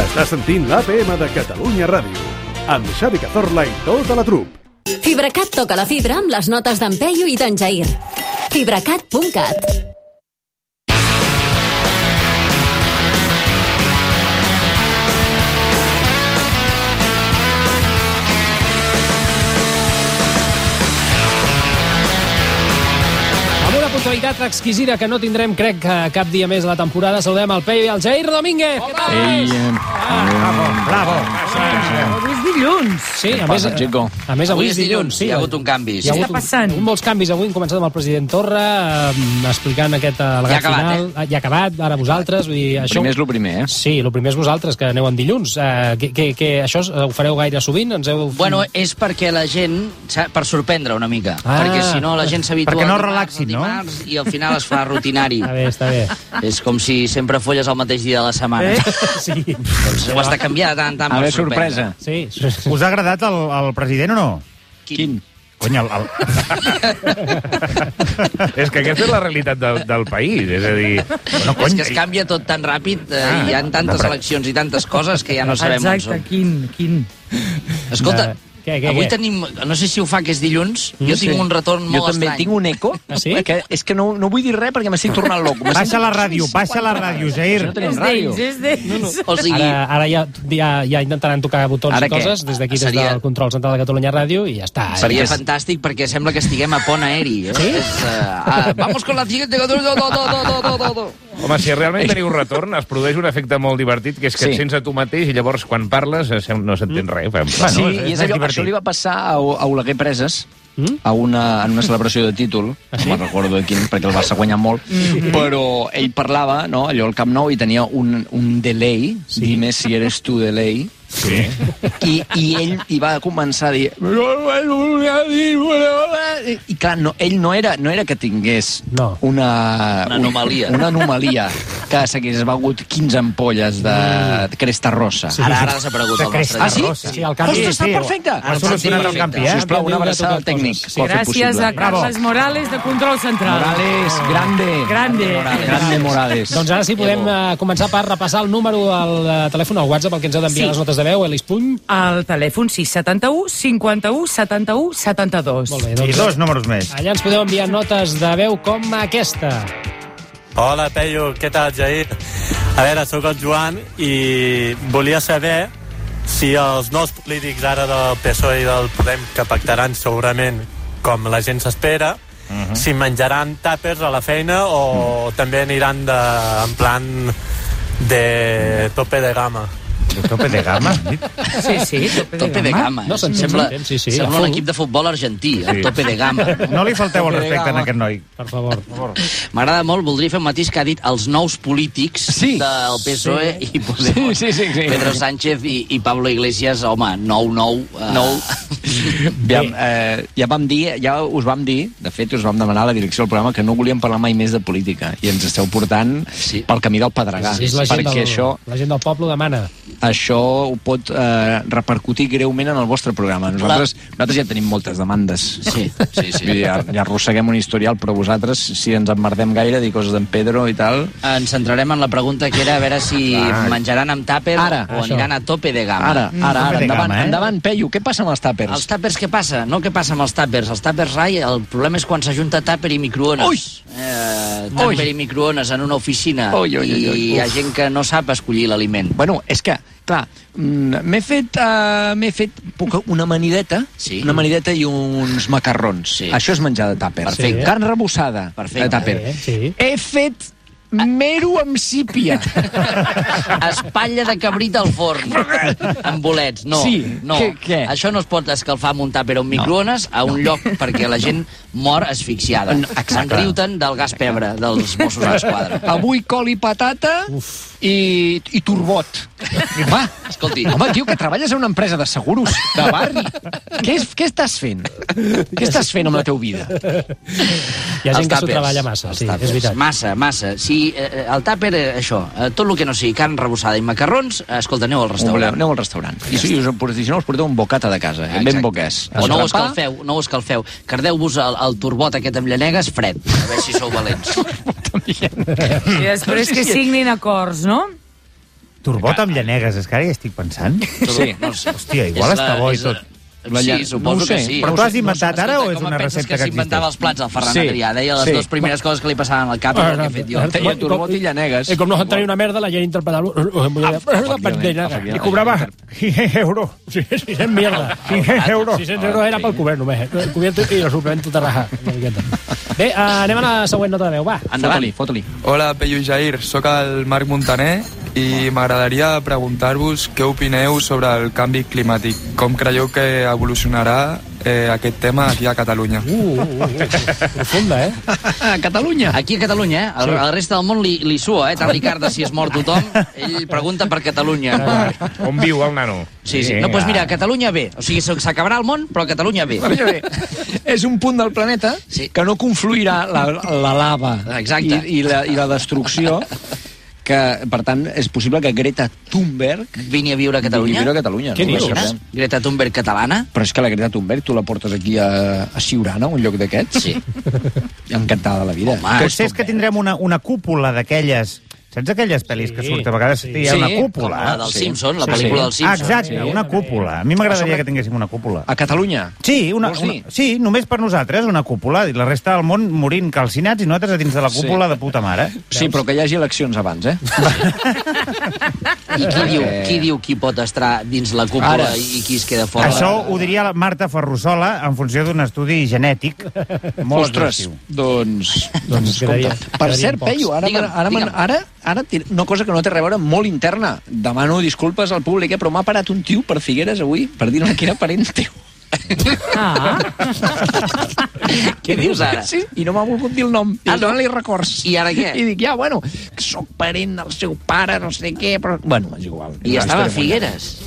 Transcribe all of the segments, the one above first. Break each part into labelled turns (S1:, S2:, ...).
S1: Estàs sentint l'APM de Catalunya Ràdio, amb Xavi Cazorla i tota la trup.
S2: Fibracat toca la fibra amb les notes d'en Peyu i d'en Jair. Fibracat.cat
S3: Amb una puntualitat exquisida que no tindrem, crec, que cap dia més a la temporada, saludem el Peyu i el Jair Domínguez. Què tal?
S4: Ei, eh,
S5: Avui és dilluns.
S3: Sí, a més, eh,
S4: passa, chico?
S3: a més avui,
S6: Avui és dilluns, hi ha hagut un canvi.
S3: Hi ha
S5: Què
S3: hagut
S5: està passant?
S3: Un, un molts canvis avui, hem començat amb el president Torra, eh, explicant aquest
S6: Ja
S3: al·legat
S6: ha acabat,
S3: final. Eh? Ja ha acabat, ara vosaltres. Vull dir, això...
S4: primer és el primer, eh?
S3: Sí, el primer és vosaltres, que aneu en dilluns. Eh, que, que, que això eh, ho fareu gaire sovint? Ens heu...
S6: Bueno, eh. és perquè la gent... s'ha- Per sorprendre una mica.
S3: Ah.
S6: perquè si no, la gent s'habitua...
S5: Perquè no
S6: al dimarts,
S5: relaxin,
S6: al
S5: no?
S6: dimarts, I al final es fa rutinari.
S3: Està bé, està bé.
S6: és com si sempre folles el mateix dia de la setmana. Eh?
S3: Sí,
S6: Doncs ho has de canviar de tant en tant
S4: A
S6: per
S4: veure,
S6: sorprendre.
S4: sorpresa.
S3: sí.
S7: Us ha agradat el, el president o no?
S6: eh? Quin?
S7: Cony, el, el...
S8: És que aquesta és la realitat del, del país, és a dir...
S7: No,
S6: És
S7: cony,
S6: que es canvia tot tan ràpid, eh, hi ha tantes eleccions i tantes coses que ja no sabem on
S5: Exacte,
S6: som.
S5: quin, quin.
S6: Escolta,
S3: Eh, què, què,
S6: avui
S3: què?
S6: tenim... No sé si ho fa, que és dilluns. Jo tinc un retorn
S4: jo
S6: molt
S4: també
S6: estrany.
S4: tinc un eco.
S3: Ah, sí?
S4: Que és que no, no vull dir res perquè m'estic tornant loco. Me
S7: Baixa
S4: sento-
S7: la ràdio, baixa la ràdio, Jair.
S4: No tenim
S5: És
S4: ràdio.
S5: d'ells, és d'ells.
S6: O sigui,
S3: Ara, ara ja, ja, ja intentaran tocar botons
S4: Ara
S3: i coses
S4: què?
S3: des d'aquí, des
S6: Seria-
S3: del control central de Catalunya Ràdio, i ja està.
S6: Seria
S3: eh?
S6: fantàstic perquè sembla que estiguem a pont aeri. Eh? Sí? És, uh, ah, vamos con la siguiente... Do, do, do, do, do, do, do, do.
S8: Home, si realment teniu retorn, es produeix un efecte molt divertit, que és que
S4: Sí.
S8: et sents a tu mateix i llavors quan parles eh, sem- no s'entén res. Fem,
S4: Sí,
S7: Bueno,
S4: i
S7: és
S4: és allò,
S7: divertit.
S4: això li va passar a, a Oleguer Preses, a una, en una celebració de títol, no me'n recordo de quin, perquè el Barça guanyar molt, però ell parlava, no?, allò al Camp Nou i tenia un, un delay, dime si eres tu delay,
S8: Sí.
S4: i, i ell hi va començar a dir i clar, no, ell no era, no era que tingués
S3: No.
S4: una,
S6: Una anomalia.
S4: una anomalia que s'hagués begut 15 ampolles de cresta rossa
S6: Ara, ara ha desaparegut el nostre
S4: Ah, sí?
S7: rossa.
S3: Sí, el canvi...
S4: Ostres, està perfecte!
S7: Ha solucionat el campi, eh?
S4: sisplau,
S3: Canviem
S4: una
S3: de
S4: abraçada al
S3: totes
S4: tècnic
S3: coses.
S4: que ho ha fet
S5: Gràcies a
S4: possible.
S5: Carles Morales, de Control Central.
S4: Morales, grande
S5: Grande.
S4: grande Morales
S3: Doncs ara sí podem eh, començar per repassar el número al eh, telèfon, al WhatsApp, el que ens heu d'enviar
S5: Sí.
S3: les notes de veu, Elis Puny.
S5: Al telèfon 671 51 71 72.
S3: Molt bé,
S7: I
S3: doncs
S7: dos números més.
S3: allà ens podeu enviar notes de veu com aquesta.
S9: Hola, Peyu, què tal, Jair? A veure, sóc el Joan i volia saber si els nous polítics ara del PSOE E i del Podem que pactaran segurament com la gent s'espera, uh -huh. si menjaran tàpers a la feina o també aniran de, en plan de tope de gama.
S7: De tope de gamma.
S5: Sí, sí, tope de
S6: Tope de
S5: gamma.
S6: gama.
S3: No,
S6: No,
S3: s'entén,
S6: sembla,
S3: s'entén, sí, sí, a
S6: sembla
S3: full.
S6: un equip de futbol argentí, sí. tope de gama.
S7: No li falteu el respecte en
S4: gamma.
S7: aquest noi.
S3: Per favor.
S6: M'agrada molt, voldria fer un matís que ha dit els nous polítics
S4: Sí.
S6: del PSOE sí. i
S4: Sí,
S6: Podem.
S4: sí, sí, sí.
S6: Pedro Sánchez i, i Pablo Iglesias, home, nou, nou. Uh, nou.
S4: Ja, eh, ja vam dir, ja us vam dir, de fet us vam demanar a la direcció del programa que no volíem parlar mai més de política i ens esteu portant
S6: Sí.
S4: sí. pel camí del pedregar,
S3: És la gent,
S4: Ah, perquè
S3: del,
S4: això,
S3: la gent del poble demana.
S4: això ho pot eh, repercutir greument en el vostre programa. Nosaltres, nosaltres ja tenim moltes demandes.
S6: Sí, sí,
S4: Vull dir,
S6: sí.
S4: Ja, ja arrosseguem un historial, però vosaltres, si ens emmerdem gaire, dir coses d'en Pedro i tal...
S6: Ens centrarem en la pregunta que era a veure si menjaran amb tàper
S4: Ara,
S6: o
S3: això.
S6: aniran a tope de gama. Mm.
S4: Ara, ara,
S7: tope
S4: ara,
S7: de
S4: endavant,
S7: gamma, eh?
S4: endavant, Peyu, què passa amb els tàpers?
S6: Els tàpers què passa? No què passa amb els tàpers. Els tàpers, rai, el problema és quan s'ajunta tàper i microones.
S4: Ui!
S6: Eh, tàper i microones en una oficina.
S4: Ui, ui, ui, ui.
S6: I hi ha gent que no sap escollir l'aliment.
S4: Bueno, és que, clar, mm, m'he fet, uh, m'he fet poca- una manideta,
S6: Sí.
S4: una manideta i uns macarrons.
S6: Sí.
S4: Això és menjar de tàper.
S6: Perfecte.
S4: Carn rebussada
S6: Perfecte.
S4: de tàper.
S3: Eh, sí.
S4: He fet mero amb sípia.
S6: Espatlla de cabrit al forn. amb bolets. No,
S4: Sí,
S6: no.
S4: què- què?
S6: Això no es pot escalfar amb un tàper o un microones a un lloc perquè la gent mor asfixiada.
S4: No,
S6: Se'n
S4: exacte.
S6: riuten del gas pebre dels Mossos d'Esquadra.
S4: Avui col i patata i, i turbot. Va,
S6: Escolti.
S4: Home, tio, que treballes a una empresa de seguros, de barri. Què, és, què estàs fent? Què estàs fent amb la teva vida?
S3: Hi ha gent
S6: Els
S3: que s'ho
S6: tàpers.
S3: treballa massa,
S6: Els
S3: sí,
S6: tàpers.
S3: és veritat.
S6: Massa, massa. Si eh, el tàper, eh, això, eh, tot el que no sigui carn rebossada i macarrons, eh, escolta, aneu al
S4: Voleu,
S6: restaurant.
S4: aneu al restaurant. I si us, si no us porteu un bocata de casa, eh? ben
S6: Exacte.
S4: boquès.
S6: O no ho
S4: Escapar,
S6: escalfeu, no ho escalfeu. Cardeu-vos el, el turbot aquest amb llanegues fred, a veure si sou valents.
S5: I després que signin acords, no?
S7: Turbot amb llanegues, és que ara ja estic pensant.
S4: Sí.
S6: No, sé.
S7: Hòstia, igual
S6: És la-
S7: està bo i
S6: és la-
S7: tot.
S4: La llen-
S6: Sí, suposo
S4: no ho sé,
S6: que sí.
S7: però
S6: No
S7: tu
S6: ho
S7: has
S6: sé,
S7: inventat
S6: no sé.
S7: ara o
S6: Escolta,
S7: és
S6: com
S7: una
S6: et penses
S7: recepta que
S6: s'inventava
S7: existeix?
S6: els plats al Ferran
S4: Sí,
S6: Adrià, deia les
S4: sí.
S6: dues primeres coses que li passaven al cap i el que he fet jo.
S3: eh,
S4: Feia turbot i llanegues.
S3: I eh, com no entenia una merda, la gent Eh, interpretava...
S4: efectivament.
S3: I
S4: I cobrava
S7: 500 euros.
S3: Sí, 600 mierda.
S7: 500 euros.
S3: 600 euros era pel cobert només. eh? El cobert i el suplement tot arrajat. una miqueta. Bé, eh, anem a la següent nota de veu, va.
S6: Ah.
S4: Endavant. Fot-li,
S10: Hola, Peyu i Jair, sóc el Marc Montaner i m'agradaria preguntar-vos què opineu sobre el canvi climàtic. Com creieu que evolucionarà eh, aquest tema aquí a Catalunya?
S3: Uh, uh, uh, uh, profunda, eh?
S4: fot-li. Catalunya.
S6: Aquí a Catalunya, eh? El, el resta del món li, li sua, eh? Tant Ricarda, si es mor tothom, ell pregunta per Catalunya.
S8: On viu el nano?
S6: Sí, sí. No, doncs mira, Catalunya bé. O sigui, s'acabarà el món, però Catalunya bé.
S4: Però ja ve, és un punt del planeta
S6: Sí.
S4: que no confluirà la, la lava
S6: Exacte.
S4: I, i, la, i la destrucció que, per tant, és possible que Greta Thunberg
S6: Vini a viure a Catalunya.
S4: viure a Catalunya.
S3: Què
S4: no?
S3: dius?
S4: Ho sabem.
S6: Greta Thunberg catalana.
S4: Però és que la Greta Thunberg tu la portes aquí a, a Siurana, un lloc d'aquests?
S6: Sí.
S4: Encantada de la vida.
S6: Home,
S7: Potser és que tindrem una, una cúpula d'aquelles... Saps aquelles pel·lis que
S3: Sí.
S7: surten? A vegades sí. hi ha
S6: Sí,
S7: una
S6: com
S7: cúpula.
S6: la del
S7: Sí.
S6: Simpson, la
S4: Sí, sí.
S6: pel·lícula del
S7: Ah,
S6: Simpson.
S7: exacte, una cúpula. A mi m'agradaria
S4: Sobre-
S7: que tinguéssim una cúpula.
S4: A Catalunya.
S7: Sí, una,
S4: Vols
S7: una,
S4: dir?
S7: sí, només per nosaltres, una cúpula. I la resta del món morint calcinats i nosaltres a dins de la cúpula
S4: Sí.
S7: de puta mare.
S4: Sí, però que hi hagi eleccions abans, eh?
S6: I qui diu,
S4: Eh.
S6: qui diu qui pot estar dins la cúpula
S4: Ara.
S6: i qui es queda fora?
S7: Això ho diria la Marta Ferrusola en funció d'un estudi genètic molt
S4: Ostres,
S7: agressiu.
S4: doncs, doncs
S3: quedaria-
S4: comptat. Per
S3: quedarien
S4: cert,
S3: pocs.
S4: Peyu, ara,
S6: Digue'm,
S4: ara, ara,
S6: digue'm.
S4: m'han- ara, ara, tir- una cosa que no té res a veure, molt interna. Demano disculpes al públic, eh, però m'ha parat un tio per Figueres avui per dir-me que era parent teu.
S5: Ah,
S6: Què dius ara?
S4: Sí, i no m'ha volgut dir el nom.
S6: Ah,
S4: Ah,
S6: no?
S4: no? li records.
S6: I ara què?
S4: I dic, ja, bueno, que sóc parent del seu pare, no sé què, però... Bueno, és igual.
S6: I estava a Figueres.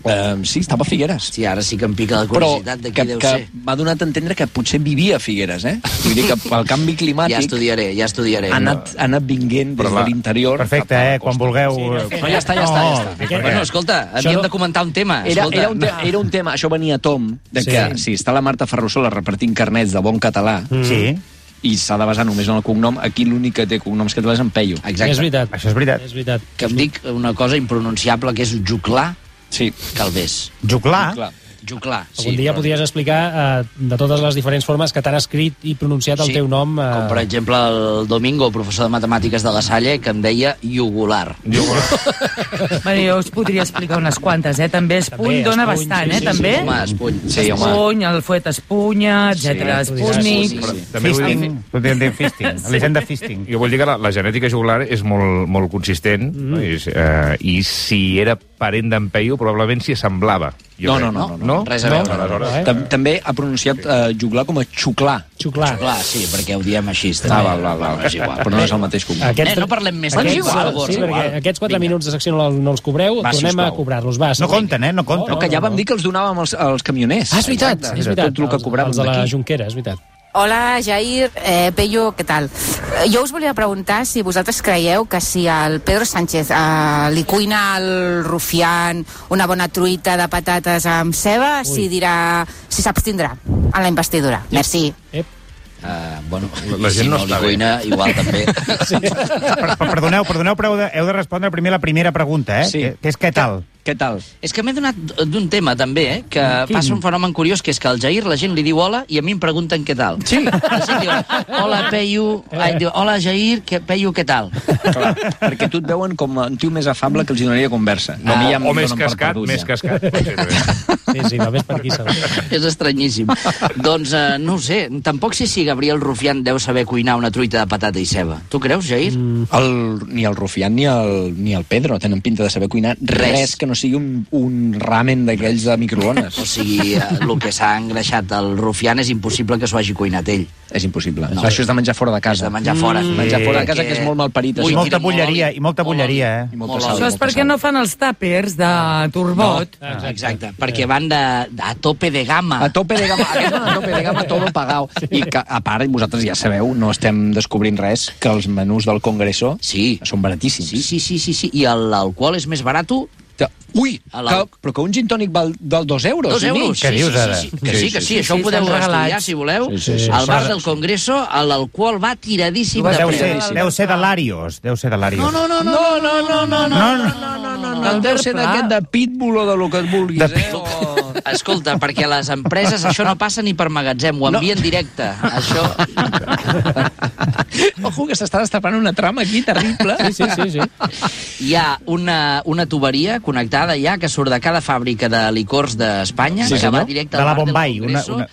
S4: Uh, sí, estava a Figueres.
S6: Sí, ara sí que em pica la
S4: Però
S6: curiositat de
S4: que,
S6: qui deu
S4: que
S6: ser.
S4: m'ha donat a entendre que potser vivia a Figueres, eh? Vull dir que el canvi
S6: Ja
S4: climàtic
S6: estudiaré, ja estudiaré.
S4: ha anat, ha anat vinguent des
S8: Però
S4: de
S8: la-
S4: l'interior.
S7: Perfecte, eh? Quan vulgueu... eh,
S6: No, ja està, ja està, ja està.
S7: dic,
S6: Bueno, escolta, havíem
S3: no-
S6: de comentar un tema.
S4: Era,
S6: escolta,
S4: era, un te era un tema, això venia a Tom, de
S3: Sí.
S4: que si està la Marta Ferrusola repartint carnets de bon català
S8: Mm.
S7: Sí,
S4: i s'ha de basar només en el cognom, aquí l'únic que té cognoms catalans és en Peyu.
S3: És
S6: Exacte.
S3: veritat.
S7: això és veritat.
S3: És veritat.
S6: Que em dic una cosa impronunciable, que és juclar
S4: Sí,
S6: calvés.
S7: Juclar,
S4: clar.
S6: Juclar, sí.
S3: Algun dia
S6: però-
S3: podries explicar eh, de totes les diferents formes que t'han escrit i pronunciat el
S6: Sí,
S3: teu nom. eh,
S6: Com, per exemple, el Domingo, professor de matemàtiques de la Salle, que em deia jugular.
S5: bueno, jo us podria explicar unes quantes, eh? També espuny
S3: També,
S5: dona
S3: espuny,
S5: bastant,
S3: sí,
S5: eh?
S3: sí,
S5: També.
S3: sí,
S6: Home, espuny.
S4: Sí, home.
S5: Espuny, el fuet espunya, etcètera,
S3: sí,
S5: espúnic...
S6: sí, sí.
S8: També vull dir,
S7: fisting, podríem dir fisting, Elisenda fisting.
S8: jo vull dir que la, la genètica jugular és molt, molt consistent mm. no? I, és, eh, i si era parent d'en Peyu probablement s'hi assemblava. Jo
S4: No, no,
S8: crec.
S4: no, no, no,
S6: res a veure.
S8: Aleshores,
S3: No, eh?
S4: Tam- També ha pronunciat eh, juglar com a xuclar.
S3: Xuclar.
S6: Clar, sí, perquè ho diem així. també.
S4: Ah, val, val, val.
S6: Bueno, és igual.
S4: Però no és el mateix cognom.
S6: Eh, no parlem més de
S3: Aquests,
S6: Igual,
S3: eh,
S6: llavors,
S3: sí, perquè
S6: igual.
S3: aquests 4
S6: Vinga.
S3: minuts de secció no, no els cobreu,
S6: Va,
S3: tornem a
S6: sisplau.
S3: cobrar-los. Va,
S7: No compten, eh? No compten.
S4: No, que ja vam dir que els donàvem als, als camioners.
S3: Ah, és veritat,
S4: Exacte,
S3: és veritat.
S4: Tot el que
S3: Els-
S4: cobràvem
S3: Els de la
S4: d'aquí.
S3: Junquera, és veritat.
S11: Hola, Jair, eh, Pello, què tal? Eh, Jo us volia preguntar si vosaltres creieu que si al Pedro Sánchez eh, li cuina al rufián una bona truita de patates amb ceba, si dirà, si s'abstindrà en la investidura. Merci.
S3: Ep.
S6: Eh, bueno,
S8: La- la gent
S6: si
S8: no
S6: no li
S8: està bé.
S6: cuina, igual també.
S7: Per- per- Perdoneu, perdoneu, Ah, però heu de, heu de respondre primer la primera pregunta, eh?
S4: Sí.
S7: Que, que és què tal?
S4: Què tal?
S6: És que m'he donat d'un tema, també, eh, que passa un fenomen curiós, que és que al Jair la gent li diu hola i a mi em pregunten què tal. Sí. La gent diu, hola, Peyu, ai, diu, hola, Jair, que, Peyu, què tal?
S4: Clar, perquè tu et veuen com un tio més afable que els hi donaria conversa.
S8: No,
S4: A mi ja em
S8: Ah, o més
S4: donen per
S8: cascat,
S4: perdut,
S8: més
S4: ja.
S8: cascat. potser també.
S3: Sí, sí, va més per aquí, segur.
S6: És estranyíssim. doncs eh, no ho sé, tampoc sé si Gabriel Rufián deu saber cuinar una truita de patata i ceba. Tu creus, Jair? Mm.
S4: El, ni el Rufián ni el, ni el Pedro tenen pinta de saber cuinar res,
S6: Res.
S4: res que no sigui un, un ramen d'aquells de microones.
S6: O sigui, eh, el que s'ha engreixat el Rufián és impossible que s'ho hagi cuinat ell.
S4: és impossible.
S6: No.
S4: No. Això és de menjar fora de
S6: És
S4: casa.
S6: de menjar fora. Mm.
S4: Menjar fora de casa, que és molt malparit, això.
S7: I molta bulleria, i molta bulleria, eh?
S4: I molta sal.
S5: Això és
S4: molta
S5: perquè
S4: sal.
S5: no fan els tàpers de Turbot.
S3: Ah,
S6: Exacte, Exacte, perquè van de, a tope de gamma.
S4: A tope de gamma, aquest a tope de gamma, todo pagado. I que, a part, vosaltres ja sabeu, no estem descobrint res, que els menús del Congreso
S6: Sí.
S4: són baratíssims.
S6: Sí, sí, sí, sí, sí. I el- l'alcohol és més barat
S4: de- Ui, que, però que un gin tònic val del 2 euros.
S6: Dos
S4: i mig.
S6: euros, sí, sí, sí, sí, que sí, que sí, això ho podeu estudiar, si voleu,
S4: Sí, sí, sí.
S6: al bar del Congreso, l'alcohol va tiradíssim de
S7: Deu ser,
S6: preu.
S7: deu ser de l'Àrios, deu ser de l'Àrios.
S6: No, no, no, no, no, no, no, no, no, no, no, no,
S4: El deu ser d'aquest de pitbull o de lo que et vulguis, de... eh?
S6: O... Escolta, perquè a les empreses això no passa ni per magatzem, ho envien directe. Això...
S4: Ojo, que s'està destapant una trama aquí terrible.
S3: Sí, sí, sí.
S6: Hi ha una, una tuberia connectada ja que surt de cada fàbrica de licors d'Espanya,
S4: Sí,
S6: sí, que va
S4: senyor.
S6: directe
S4: De
S6: al
S4: la
S6: bar
S4: Bombay,
S6: del
S4: una-
S6: Congreso. Una,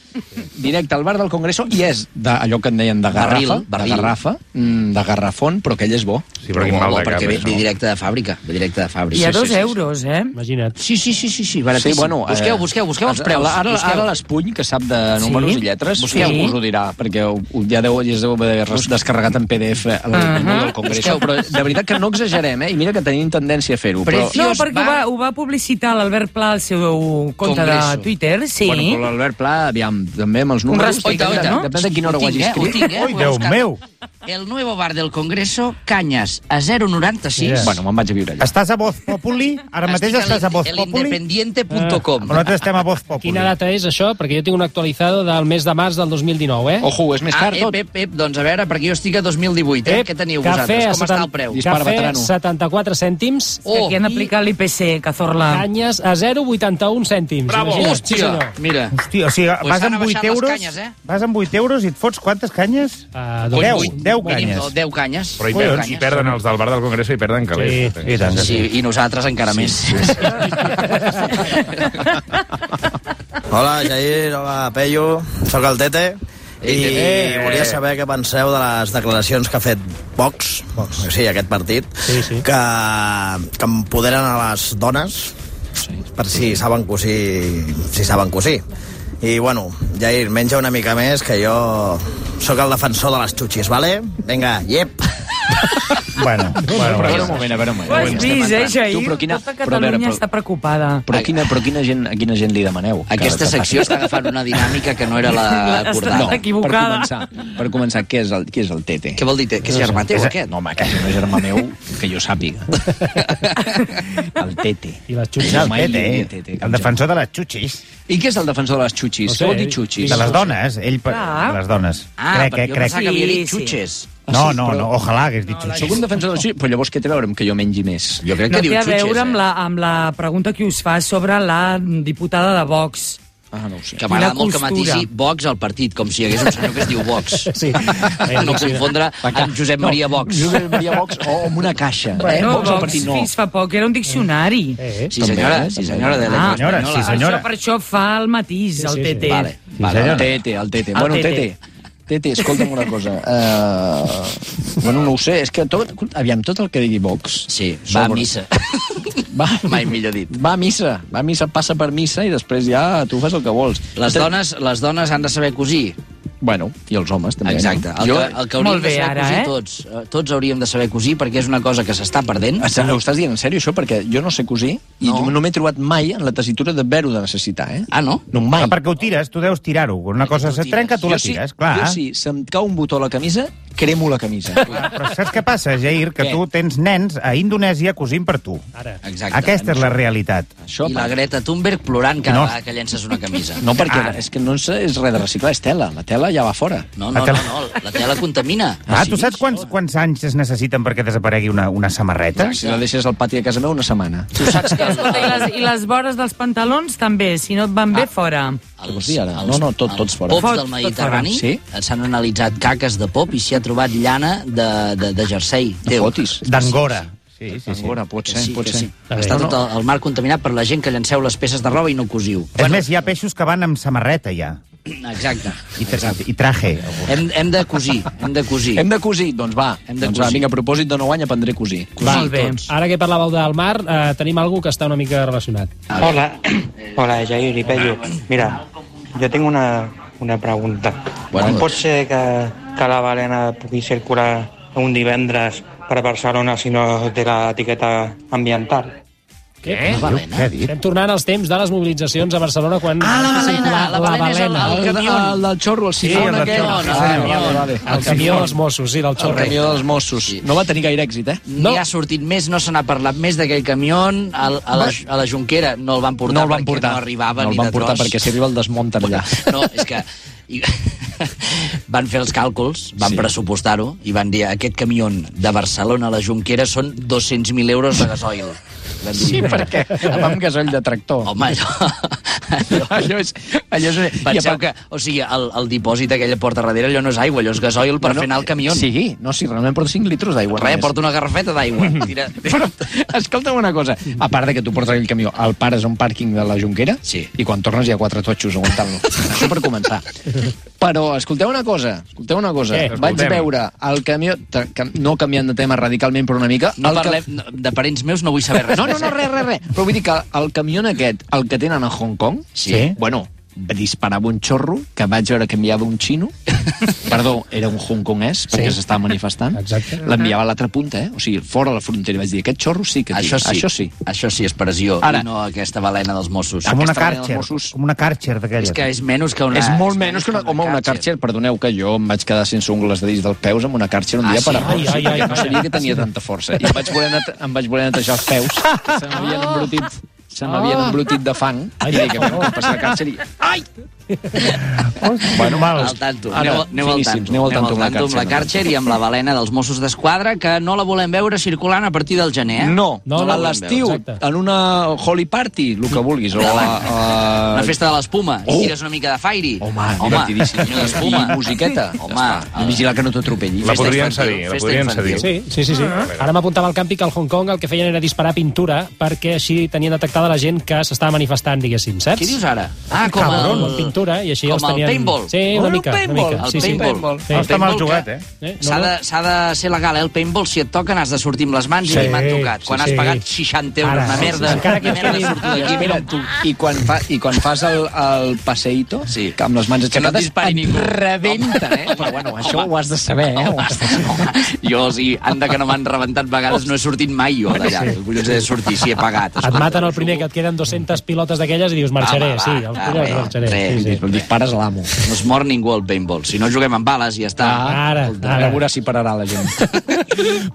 S4: Directe al bar del Congreso i és d'allò que en deien de garrafa,
S6: Barril,
S4: barril,
S6: barril.
S4: de garrafa, mm, de garrafon, però aquell és bo. Sí,
S6: però quin mal de cap,
S4: perquè ve,
S6: això.
S4: ve directe de fàbrica, ve directe de fàbrica.
S6: Hi ha
S4: Sí, sí,
S6: dos
S4: sí, sí.
S5: euros, eh?
S3: Imagina't.
S6: Sí, sí, sí, sí, sí,
S4: Sí,
S6: baratíssim.
S4: bueno, eh,
S6: busqueu, busqueu, busqueu els preus.
S4: Ara, ara,
S6: busqueu.
S4: ara l'Espuny, que sap de números
S6: Sí?
S4: i lletres,
S6: Busqueu.
S4: busqueu. us ho dirà, perquè ho, ho- ja deu, ja es deu haver res- descarregat en PDF a la uh -huh. del Congrés.
S6: Busqueu.
S4: Però de veritat que no exagerem, eh? I mira que tenim tendència a fer-ho. Però...
S5: No, perquè ho va, ho va publicitar l'Albert Pla al seu compte
S4: Congreso.
S5: de Twitter, sí.
S4: Bueno, però l'Albert Pla, aviam, també amb els
S5: Un
S4: números...
S5: respecte,
S4: depèn de-
S5: no?
S4: Depèn de quina hora ho,
S6: Ho
S4: hagi
S6: tinc, eh? Ho
S4: escrit.
S6: tinc, eh? Ui, Ho he Déu buscat. meu. El nuevo bar del Congreso, canyes a 0,96.
S7: Yes. Bueno,
S4: me'n vaig a viure allà.
S7: Estàs a Voz Populi? Ara mateix
S6: Estic a
S7: estàs a Voz Populi?
S12: Ah,
S6: Independiente.com.
S7: Però nosaltres estem a Voz Populi.
S3: Quina data és això? Perquè jo tinc una actualitzada del mes de març del 2019, eh?
S4: Ojo, és
S6: ah, ep, ep, ep, doncs a veure, perquè jo estic a 2018, eh?
S3: Ep,
S6: Què teniu
S3: cafè
S6: vosaltres?
S3: a
S6: Com està el
S3: 70
S6: preu?
S3: Cafè, 74 cèntims.
S6: Oh,
S5: que aquí han aplicat l'IPC, Cazorla.
S3: Canyes a 0,81 cèntims. Imagina't, sí,
S6: Hòstia,
S3: senyor.
S6: mira.
S7: Hòstia, o sigui,
S6: Pues
S7: vas
S6: han
S7: amb 8
S6: abaixat les
S7: euros...
S6: canyes, eh?
S7: Vas amb 8 euros i et fots quantes canyes?
S3: Uh,
S7: doncs 10,
S6: vuit.
S7: 10
S6: Mínim
S7: canyes.
S6: no, 10 canyes.
S8: Però hi,
S6: Collons.
S8: perden, hi perden els del bar del Congreso i perden calés.
S7: Sí, i tant que
S6: Sí, i nosaltres encara sí. més.
S13: Hola, Jair, hola, Peyu, sóc el Tete. I
S6: Tete.
S13: volia saber què penseu de les declaracions que ha fet Vox, Vox. sí, aquest partit, sí, sí. Que, que empoderen a les dones sí. per si saben cosir, si saben cosir. I, bueno, Jair, menja una mica més, que jo sóc el defensor de les xutxis, vale? Vinga, yep!
S7: bueno,
S4: Bueno, però, a veure un moment, a veure un moment.
S5: Ho has vist, eh, Jair?
S4: Tu, però quina...
S5: Tota
S4: però, a
S5: Catalunya
S4: veure,
S5: està preocupada.
S4: però, quina, però quina gent, a quina gent li demaneu? que-
S6: Aquesta
S4: que
S6: secció
S4: faci?
S6: està agafant una dinàmica que no era la
S4: Està
S6: acordada.
S4: equivocada. per començar, per començar què, és el, què és el Tete? Què
S6: vol dir Tete? Que és germà teu, aquest?
S4: No, home, que és un germà meu que jo sàpiga. El Tete.
S3: I les
S7: xutxis. El Tete, eh? El defensor de les xutxis.
S4: I què és el defensor de les xutxis? No
S7: No sé,
S4: sé, què vol dir xutxis?
S7: De les dones, ell... per-
S4: Clar.
S7: De les dones.
S4: Ah,
S7: crec,
S4: perquè
S7: eh,
S4: jo
S7: crec.
S4: pensava que havia dit xutxes.
S7: No, no, no, ojalà hagués dit xutxis.
S4: Soc un defensor de les xutxis, però llavors què té a veure amb que jo mengi més? Jo crec
S5: No
S4: que diu
S5: té a
S4: xutxes,
S5: veure amb
S4: eh?
S5: la, amb la pregunta que us fa sobre la diputada de Vox.
S4: Ah, no ho sé.
S6: eh? Que m'agrada molt que
S5: Quina costura.
S6: matisi Vox al partit, com si hi hagués un senyor que es diu Vox.
S3: Sí.
S6: No confondre amb Josep Maria Vox.
S4: Josep Maria Vox o amb una caixa.
S5: Bueno,
S4: eh?
S5: Vox,
S4: Vox al partit no.
S5: fins fa poc era un diccionari. Eh,
S6: Sí, senyora, sí, senyora, de
S5: Ah,
S6: l'Electro
S5: senyora,
S6: Espanyola.
S5: sí, senyora. Per això fa el matís, el TT.
S4: Vale, vale, el tete, el tete.
S5: El
S4: bueno,
S5: tete.
S4: tete. Tete, escolta'm una cosa. Uh, bueno, no ho sé, és que tot, aviam, tot el que digui Vox... Sí,
S6: va a missa.
S4: Va,
S6: Mai millor dit.
S4: va a missa, va a missa, passa per missa i després ja tu fas el que vols.
S6: Les dones, les dones han de saber cosir.
S4: Bueno, i els homes també.
S6: Exacte.
S4: no?
S6: El, que, el que hauríem
S5: Molt bé,
S6: de saber
S5: ara,
S6: cosir
S5: eh?
S6: tots. Eh, Tots hauríem de saber cosir perquè és una cosa que s'està perdent.
S4: Està- Ho estàs dient en sèrio, això? Perquè jo no sé cosir i no, no m'he trobat mai en la tessitura d'haver-ho de necessitar, eh?
S6: Ah, no?
S4: No, mai.
S7: Ah, perquè ho tires, tu deus tirar-ho. Quan una cosa se trenca, tu la tires,
S4: sí,
S7: clar.
S4: Jo sí, se'm cau un botó a la camisa, cremo la camisa.
S7: Però saps què passa, Jair? Que
S4: Què?
S7: tu tens nens a Indonèsia cosint per tu.
S3: Ara.
S6: Exacte.
S7: Aquesta és la realitat.
S4: Això,
S6: I la Greta Thunberg plorant cada
S7: No.
S6: vegada que llences una camisa.
S4: No, perquè ah. és que no és és res de reciclar, és tela. La tela ja va fora.
S6: No, no,
S7: La tela-
S6: no, no, la tela contamina.
S7: Ah, tu saps quants, quants anys es necessiten perquè desaparegui una, una samarreta?
S4: Si la deixes al pati de casa meva una setmana.
S6: Tu saps que...
S5: Escolta, i les, I les vores dels pantalons també, si no et van bé, fora.
S4: Però sí, ara. No, no, tot, tots fora.
S6: Pops
S5: Tot
S6: del Mediterrani
S4: fora. Sí.
S6: s'han analitzat caques de pop i s'hi ha trobat llana de, de, de jersei.
S4: No fotis.
S7: D'Angora. Sí, sí, sí.
S4: Angora, pot
S6: Que
S4: ser,
S6: sí,
S4: pot
S6: que
S4: ser.
S6: sí. Està tot el, el mar contaminat per la gent que llanceu les peces de roba i no cosiu.
S7: És més, hi ha peixos que van amb samarreta, ja.
S6: Exacte.
S7: I, tra i traje.
S6: Hem, hem de cosir, hem de cosir.
S4: Hem de cosir, doncs va. Hem de doncs va,
S6: cosir.
S4: vinga, a propòsit de nou any aprendré a cosir.
S6: Cosir
S5: Molt bé.
S6: tots.
S3: Ara que parlàveu del mar, eh, tenim algú que està una mica relacionat.
S14: Hola, Eh, hola Jair i Pello. Mira, jo tinc una, una pregunta.
S4: Bueno,
S14: Bueno, Com pot
S4: doncs.
S14: ser que, que la balena pugui circular un divendres per Barcelona si no té l'etiqueta ambiental?
S3: Què?
S6: La balena? Què ha dit?
S3: Estem tornant als temps de les mobilitzacions a Barcelona quan...
S6: Ah, la balena, la balena és el- el
S3: balena.
S6: camió. El del xorro, el
S3: Sí,
S6: sifó
S3: el del
S6: aquell.
S3: xorro, sí,
S6: Ah,
S3: senyor.
S6: vale, vale.
S3: El camió dels Mossos, sí, del xorro.
S6: El camió dels Mossos. No va tenir gaire èxit, eh? No. N'hi ha sortit més, no se n'ha parlat més d'aquell camió. Al, a, la, a la Junquera no el van portar
S4: No el van
S6: perquè
S4: portar.
S6: no arribava
S4: no el
S6: ni
S4: van
S6: de
S4: portar
S6: tros.
S4: perquè si arriba el desmunten allà.
S6: No, és que... i- van fer els càlculs, van
S4: Sí.
S6: sí. pressupostar-ho i van dir aquest camió de Barcelona a la Junquera són 200.000 euros de gasoil. Van dir,
S4: Sí, perquè amb gasoll de tractor.
S6: Home, allò... allò, allò és... Allò és Penseu que, o sigui, el, el dipòsit aquella porta darrere, allò no és aigua, allò és gasoil per
S4: No, no,
S6: fer anar el camió.
S4: Sí, no, sí, realment porta 5 litres d'aigua.
S6: Res,
S4: només.
S6: porta una garrafeta d'aigua. Tira...
S4: Però, escolta'm una cosa, a part de que tu portes aquell camió, el pares a un pàrquing de la Junquera sí. i quan tornes hi ha quatre totxos aguantant-lo. Això per començar. Però escolteu una cosa, escolteu una cosa.
S6: Què?
S4: Vaig
S6: Escoltem.
S4: veure el camió, tra- cam- no canviant de tema radicalment, però una mica...
S6: No
S4: el
S6: parlem... no, De parents meus no vull saber res. eh?
S4: No, no, no, res, res, res. Però vull dir que el camió aquest, el que tenen a Hong Kong, sí. bueno, disparava un xorro que vaig veure que enviava un xino perdó, era un hongkonès perquè
S6: Sí.
S4: s'estava manifestant l'enviava a l'altra punta, eh? o sigui, fora la frontera i vaig dir, aquest xorro sí que té,
S6: Això sí.
S4: això sí
S6: això sí és pressió
S4: Ara.
S6: Ara. i no aquesta balena dels Mossos.
S4: Com una
S6: Aquesta balena dels
S4: Karcher.
S6: Mossos
S7: Com una càrcer d'aquelles.
S6: És que és menys que una...
S4: és molt menys que una, home, una càrcer, perdoneu que jo em vaig quedar sense ungles de dins dels peus amb una càrcer un
S6: Ah,
S4: dia
S6: sí?
S4: per error,
S6: Ai,
S4: sí,
S6: ai,
S4: perquè
S6: ai,
S4: no
S6: ai.
S4: sabia que tenia tanta força. I em vaig voler nete- em vaig voler netejar els peus, que se m'havien embrutit, se m'havien
S6: Ah.
S4: embrutit de fang, i dic, a veure, com passa la càrcer, i... Ai!
S6: Bueno, al tanto.
S4: Ara,
S6: Aneu, aneu al
S4: finíssims,
S6: tanto.
S4: aneu al tanto amb la
S6: amb la
S4: Karcher.
S6: Karcher i amb la balena dels Mossos d'Esquadra, que no la volem veure circulant a partir del gener. Eh?
S4: No, no,
S6: la
S4: a
S6: volem
S4: l'estiu,
S6: veure, exacte.
S4: en una holy party, el que vulguis, o a... a...
S6: Una festa de l'espuma. Oh. Tires una mica de fairy. Home, Home
S4: divertidíssim.
S6: una d'espuma.
S4: I musiqueta.
S6: Home,
S4: a vigilar que no t'atropelli.
S8: La podrien cedir, la podrien cedir.
S3: Sí, sí, sí. sí.
S8: Ah.
S3: Ara m'apuntava al campi que al Hong Kong el que feien era disparar pintura perquè així tenien detectada la gent que s'estava manifestant, diguéssim, saps?
S6: Què dius ara? Ah, com
S3: Cabron,
S6: el-
S3: amb pintura, i així
S6: com
S3: els tenien...
S6: el paintball.
S3: Sí, una mica, una mica.
S6: El
S3: sí, sí.
S6: paintball.
S3: Sí. Eh, no,
S6: S'ha de,
S3: no.
S6: s'ha de ser legal, eh? El paintball, si et toquen, has de sortir amb les mans
S4: Sí,
S6: i dir, m'han tocat. Quan
S4: sí,
S6: has
S4: sí.
S6: pagat 60 euros,
S4: Ara,
S6: una
S4: sí,
S6: merda,
S4: sí, sí. Encara
S6: una
S4: que
S6: merda
S4: quedi-
S6: surto d'aquí.
S4: Espera, tu, i, quan fa, I quan fas el, el passeïto, sí. que amb les mans
S6: Que no et
S4: aixecades,
S6: dispari ningú.
S4: rebenta, eh? Però bueno, això ho has de saber, eh? Ho has de
S6: Jo, o sigui, anda que no m'han rebentat vegades, no he sortit mai jo d'allà.
S3: Sí.
S6: Collons he de sortir, si he pagat.
S3: Et maten el primer, que et queden 200 pilotes d'aquelles i dius, marxaré,
S6: Ah, va,
S3: sí, el
S6: va,
S3: collons,
S6: va,
S3: marxaré.
S6: res,
S3: Sí, sí.
S6: res.
S4: Dispares a l'amo.
S6: No es mor ningú al paintball. Si no juguem amb bales, ja està.
S3: Ara,
S4: A
S3: ara.
S4: veure si pararà la gent.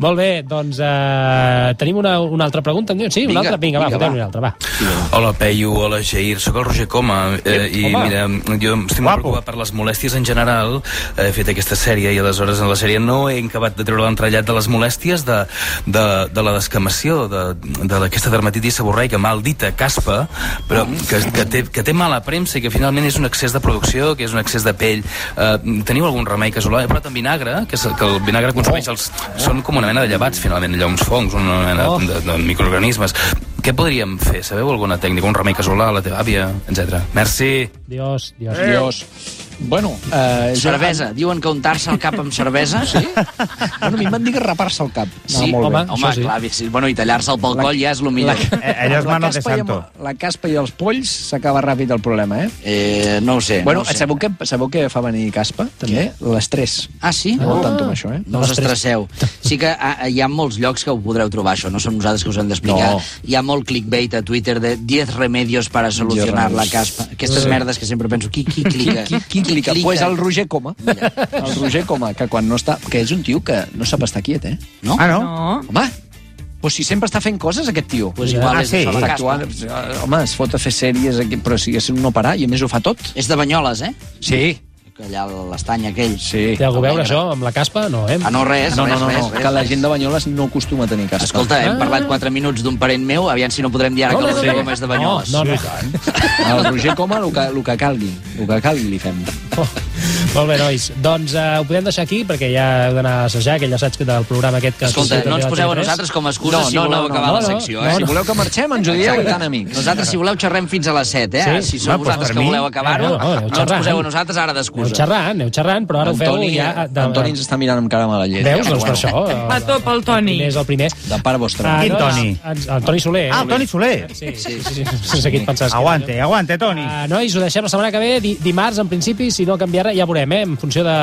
S3: Molt bé, doncs eh, tenim una, una altra pregunta. Andreu? Sí, una
S12: Vinga,
S3: altra? Vinga, va,
S12: vinga,
S3: fotem-ne
S12: va.
S3: una altra, va.
S12: Hola, Peyu, hola, Jair, sóc el Roger Coma eh, i
S3: Home.
S12: mira, jo estic molt preocupat per les molèsties en general eh, he fet aquesta sèrie i aleshores en la sèrie no he acabat de treure l'entrellat de les molèsties de, de, de la descamació de, de aquesta dermatitis seborreica mal dita caspa, però que, que, té, que té mala premsa i que finalment és un excés de producció, que és un excés de pell eh, teniu algun remei casolà? He provat amb vinagre, que, és, el- que el vinagre consumeix els, són com una mena de llevats finalment, allò uns fongs, una mena
S3: Oh.
S12: de, de microorganismes què podríem fer? Sabeu alguna tècnica? Un remei casolà, la teva àvia, etc. Merci.
S3: Dios, Dios.
S4: Dios. Bueno, eh, jo-
S6: Cervesa. Diuen que untar-se el cap amb cervesa. Sí?
S4: Bueno, a mi em van dir que rapar-se el cap.
S6: Sí,
S4: molt
S6: home,
S4: bé.
S6: home sí. clar, sí, bueno, i tallar-se el pel coll ja és el millor.
S7: Eh,
S4: Amb la caspa i amb- La caspa i els polls s'acaba ràpid el problema, eh?
S6: Eh, no ho sé.
S4: Bueno,
S6: no ho sé.
S4: sabeu, què, sabeu què fa venir caspa, també? L'estrès.
S6: Ah, sí?
S4: Aneu al tanto amb això, eh?
S6: No us estresseu. Sí que a, a, hi ha molts llocs que ho podreu trobar, això. No som nosaltres que us hem d'explicar.
S4: No.
S6: Hi ha molt clickbait a Twitter de 10 remedios para solucionar la
S4: remedios.
S6: caspa. Aquestes
S4: Eh.
S6: merdes que sempre penso, qui, qui clica?
S4: Qui, qui, qui clica? Doncs pues el Roger Coma. El Roger Coma, que quan no està... Que és un tio que no sap estar quiet, eh?
S6: No?
S4: Ah, no? Home, pues si sempre està fent coses, aquest tio.
S6: Pues igual Ah, és sí? això, la
S4: Està
S6: caspa.
S4: actuant, eh, home, es fot a fer sèries, aquí, però si és un no parar, i a més ho fa tot.
S6: És de Banyoles, eh?
S4: Sí.
S6: Allà a l'estany aquell.
S4: Sí.
S3: Té algú a veure això amb la caspa? No, eh?
S6: Ah, no, res,
S4: no,
S6: res,
S4: no, no,
S6: res,
S4: no,
S6: res,
S4: que la gent de Banyoles no acostuma a tenir caspa.
S6: Escolta, hem parlat 4 minuts d'un parent meu, aviam si no podrem dir ara que el Roger Coma és de Banyoles.
S4: No, no, no. El Roger Coma, el que, el que calgui. El que calgui li fem.
S3: Molt bé, nois. Doncs eh, ho podem deixar aquí, perquè ja heu d'anar a assajar, que ja saps que del programa aquest... Que
S6: Escolta,
S3: s'ha
S6: no ens
S3: sortit
S6: poseu a
S3: TV3.
S6: nosaltres com a excusa
S3: No,
S6: si
S3: no,
S6: voleu
S3: no,
S6: acabar
S3: no,
S6: la
S3: no,
S6: secció,
S3: no,
S6: eh?
S3: no. Si voleu
S4: que marxem, ens ho dieu i tant amics.
S6: Nosaltres, si voleu, xerrem fins a les 7, eh?
S3: Sí.
S6: Si sou
S3: Va, doncs
S6: vosaltres
S3: per
S6: que
S3: mi.
S6: voleu
S3: No,
S6: acabar-ho,
S3: no,
S6: no,
S3: aneu
S6: ens
S3: xerrant.
S6: poseu a nosaltres ara
S3: Aneu
S6: d'excusa.
S3: xerrant, aneu xerrant, però ara ho feu ja... de-
S4: Antoni ens està mirant amb cara mala llet.
S3: Veus, doncs per això.
S5: A top el Toni.
S3: És el primer.
S4: De part vostra.
S3: Ah, no, El, el Toni Soler.
S7: Ah, el Toni Soler.
S3: Sí, sí, sí. Sense qui et pensaves.
S7: Aguante, aguante, Toni.
S3: Eh, Uh, nois, ho deixem la setmana que ve, di dimarts, en principi, si no canviarà, ja veurem. veurem, eh? En funció de...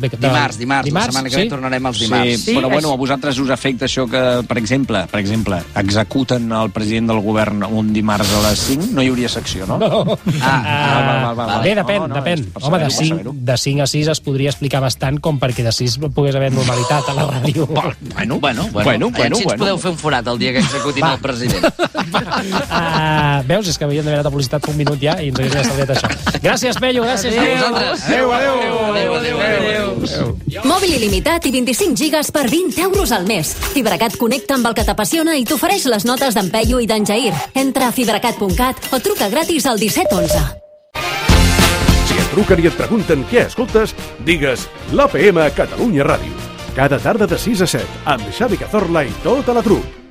S3: de, de
S4: Dimarts, dimarts, la setmana que ve tornarem els dimarts.
S3: Sí,
S4: però bueno,
S3: és-
S4: a vosaltres us afecta això que, per exemple, per exemple, executen el president del govern un dimarts a les 5, no hi hauria secció, no?
S3: No.
S4: Ah, val, val, val, val, val.
S3: Eh, Bé, depèn,
S4: No, no,
S3: depèn.
S4: és per
S3: Home, de 5,
S4: saber-ho, per
S3: de 5 a 6 es podria explicar bastant com perquè de 6 pogués haver normalitat a la ràdio.
S4: Bueno, bueno,
S6: Bueno, bueno, bueno, si ens podeu fer un forat el dia que executin el president.
S3: Ah, veus, és que havíem d'haver anat a publicitat fa un minut ja i ens haguéssim estalviat això. Gràcies, Pello, gràcies
S6: Adéu.
S3: a vosaltres. Adéu, adéu.
S6: Adéu, adéu, adéu.
S2: Mòbil il·limitat i 25 gigas per 20 euros al mes. Fibracat connecta amb el que t'apassiona i t'ofereix les notes d'en Peyu i d'en Jair. Entra a fibracat.cat o truca gratis al 1711.
S1: Si et truquen i et pregunten què escoltes, digues l'APM Catalunya Ràdio. Cada tarda de 6 a 7, amb Xavi Cazorla i tota la trup.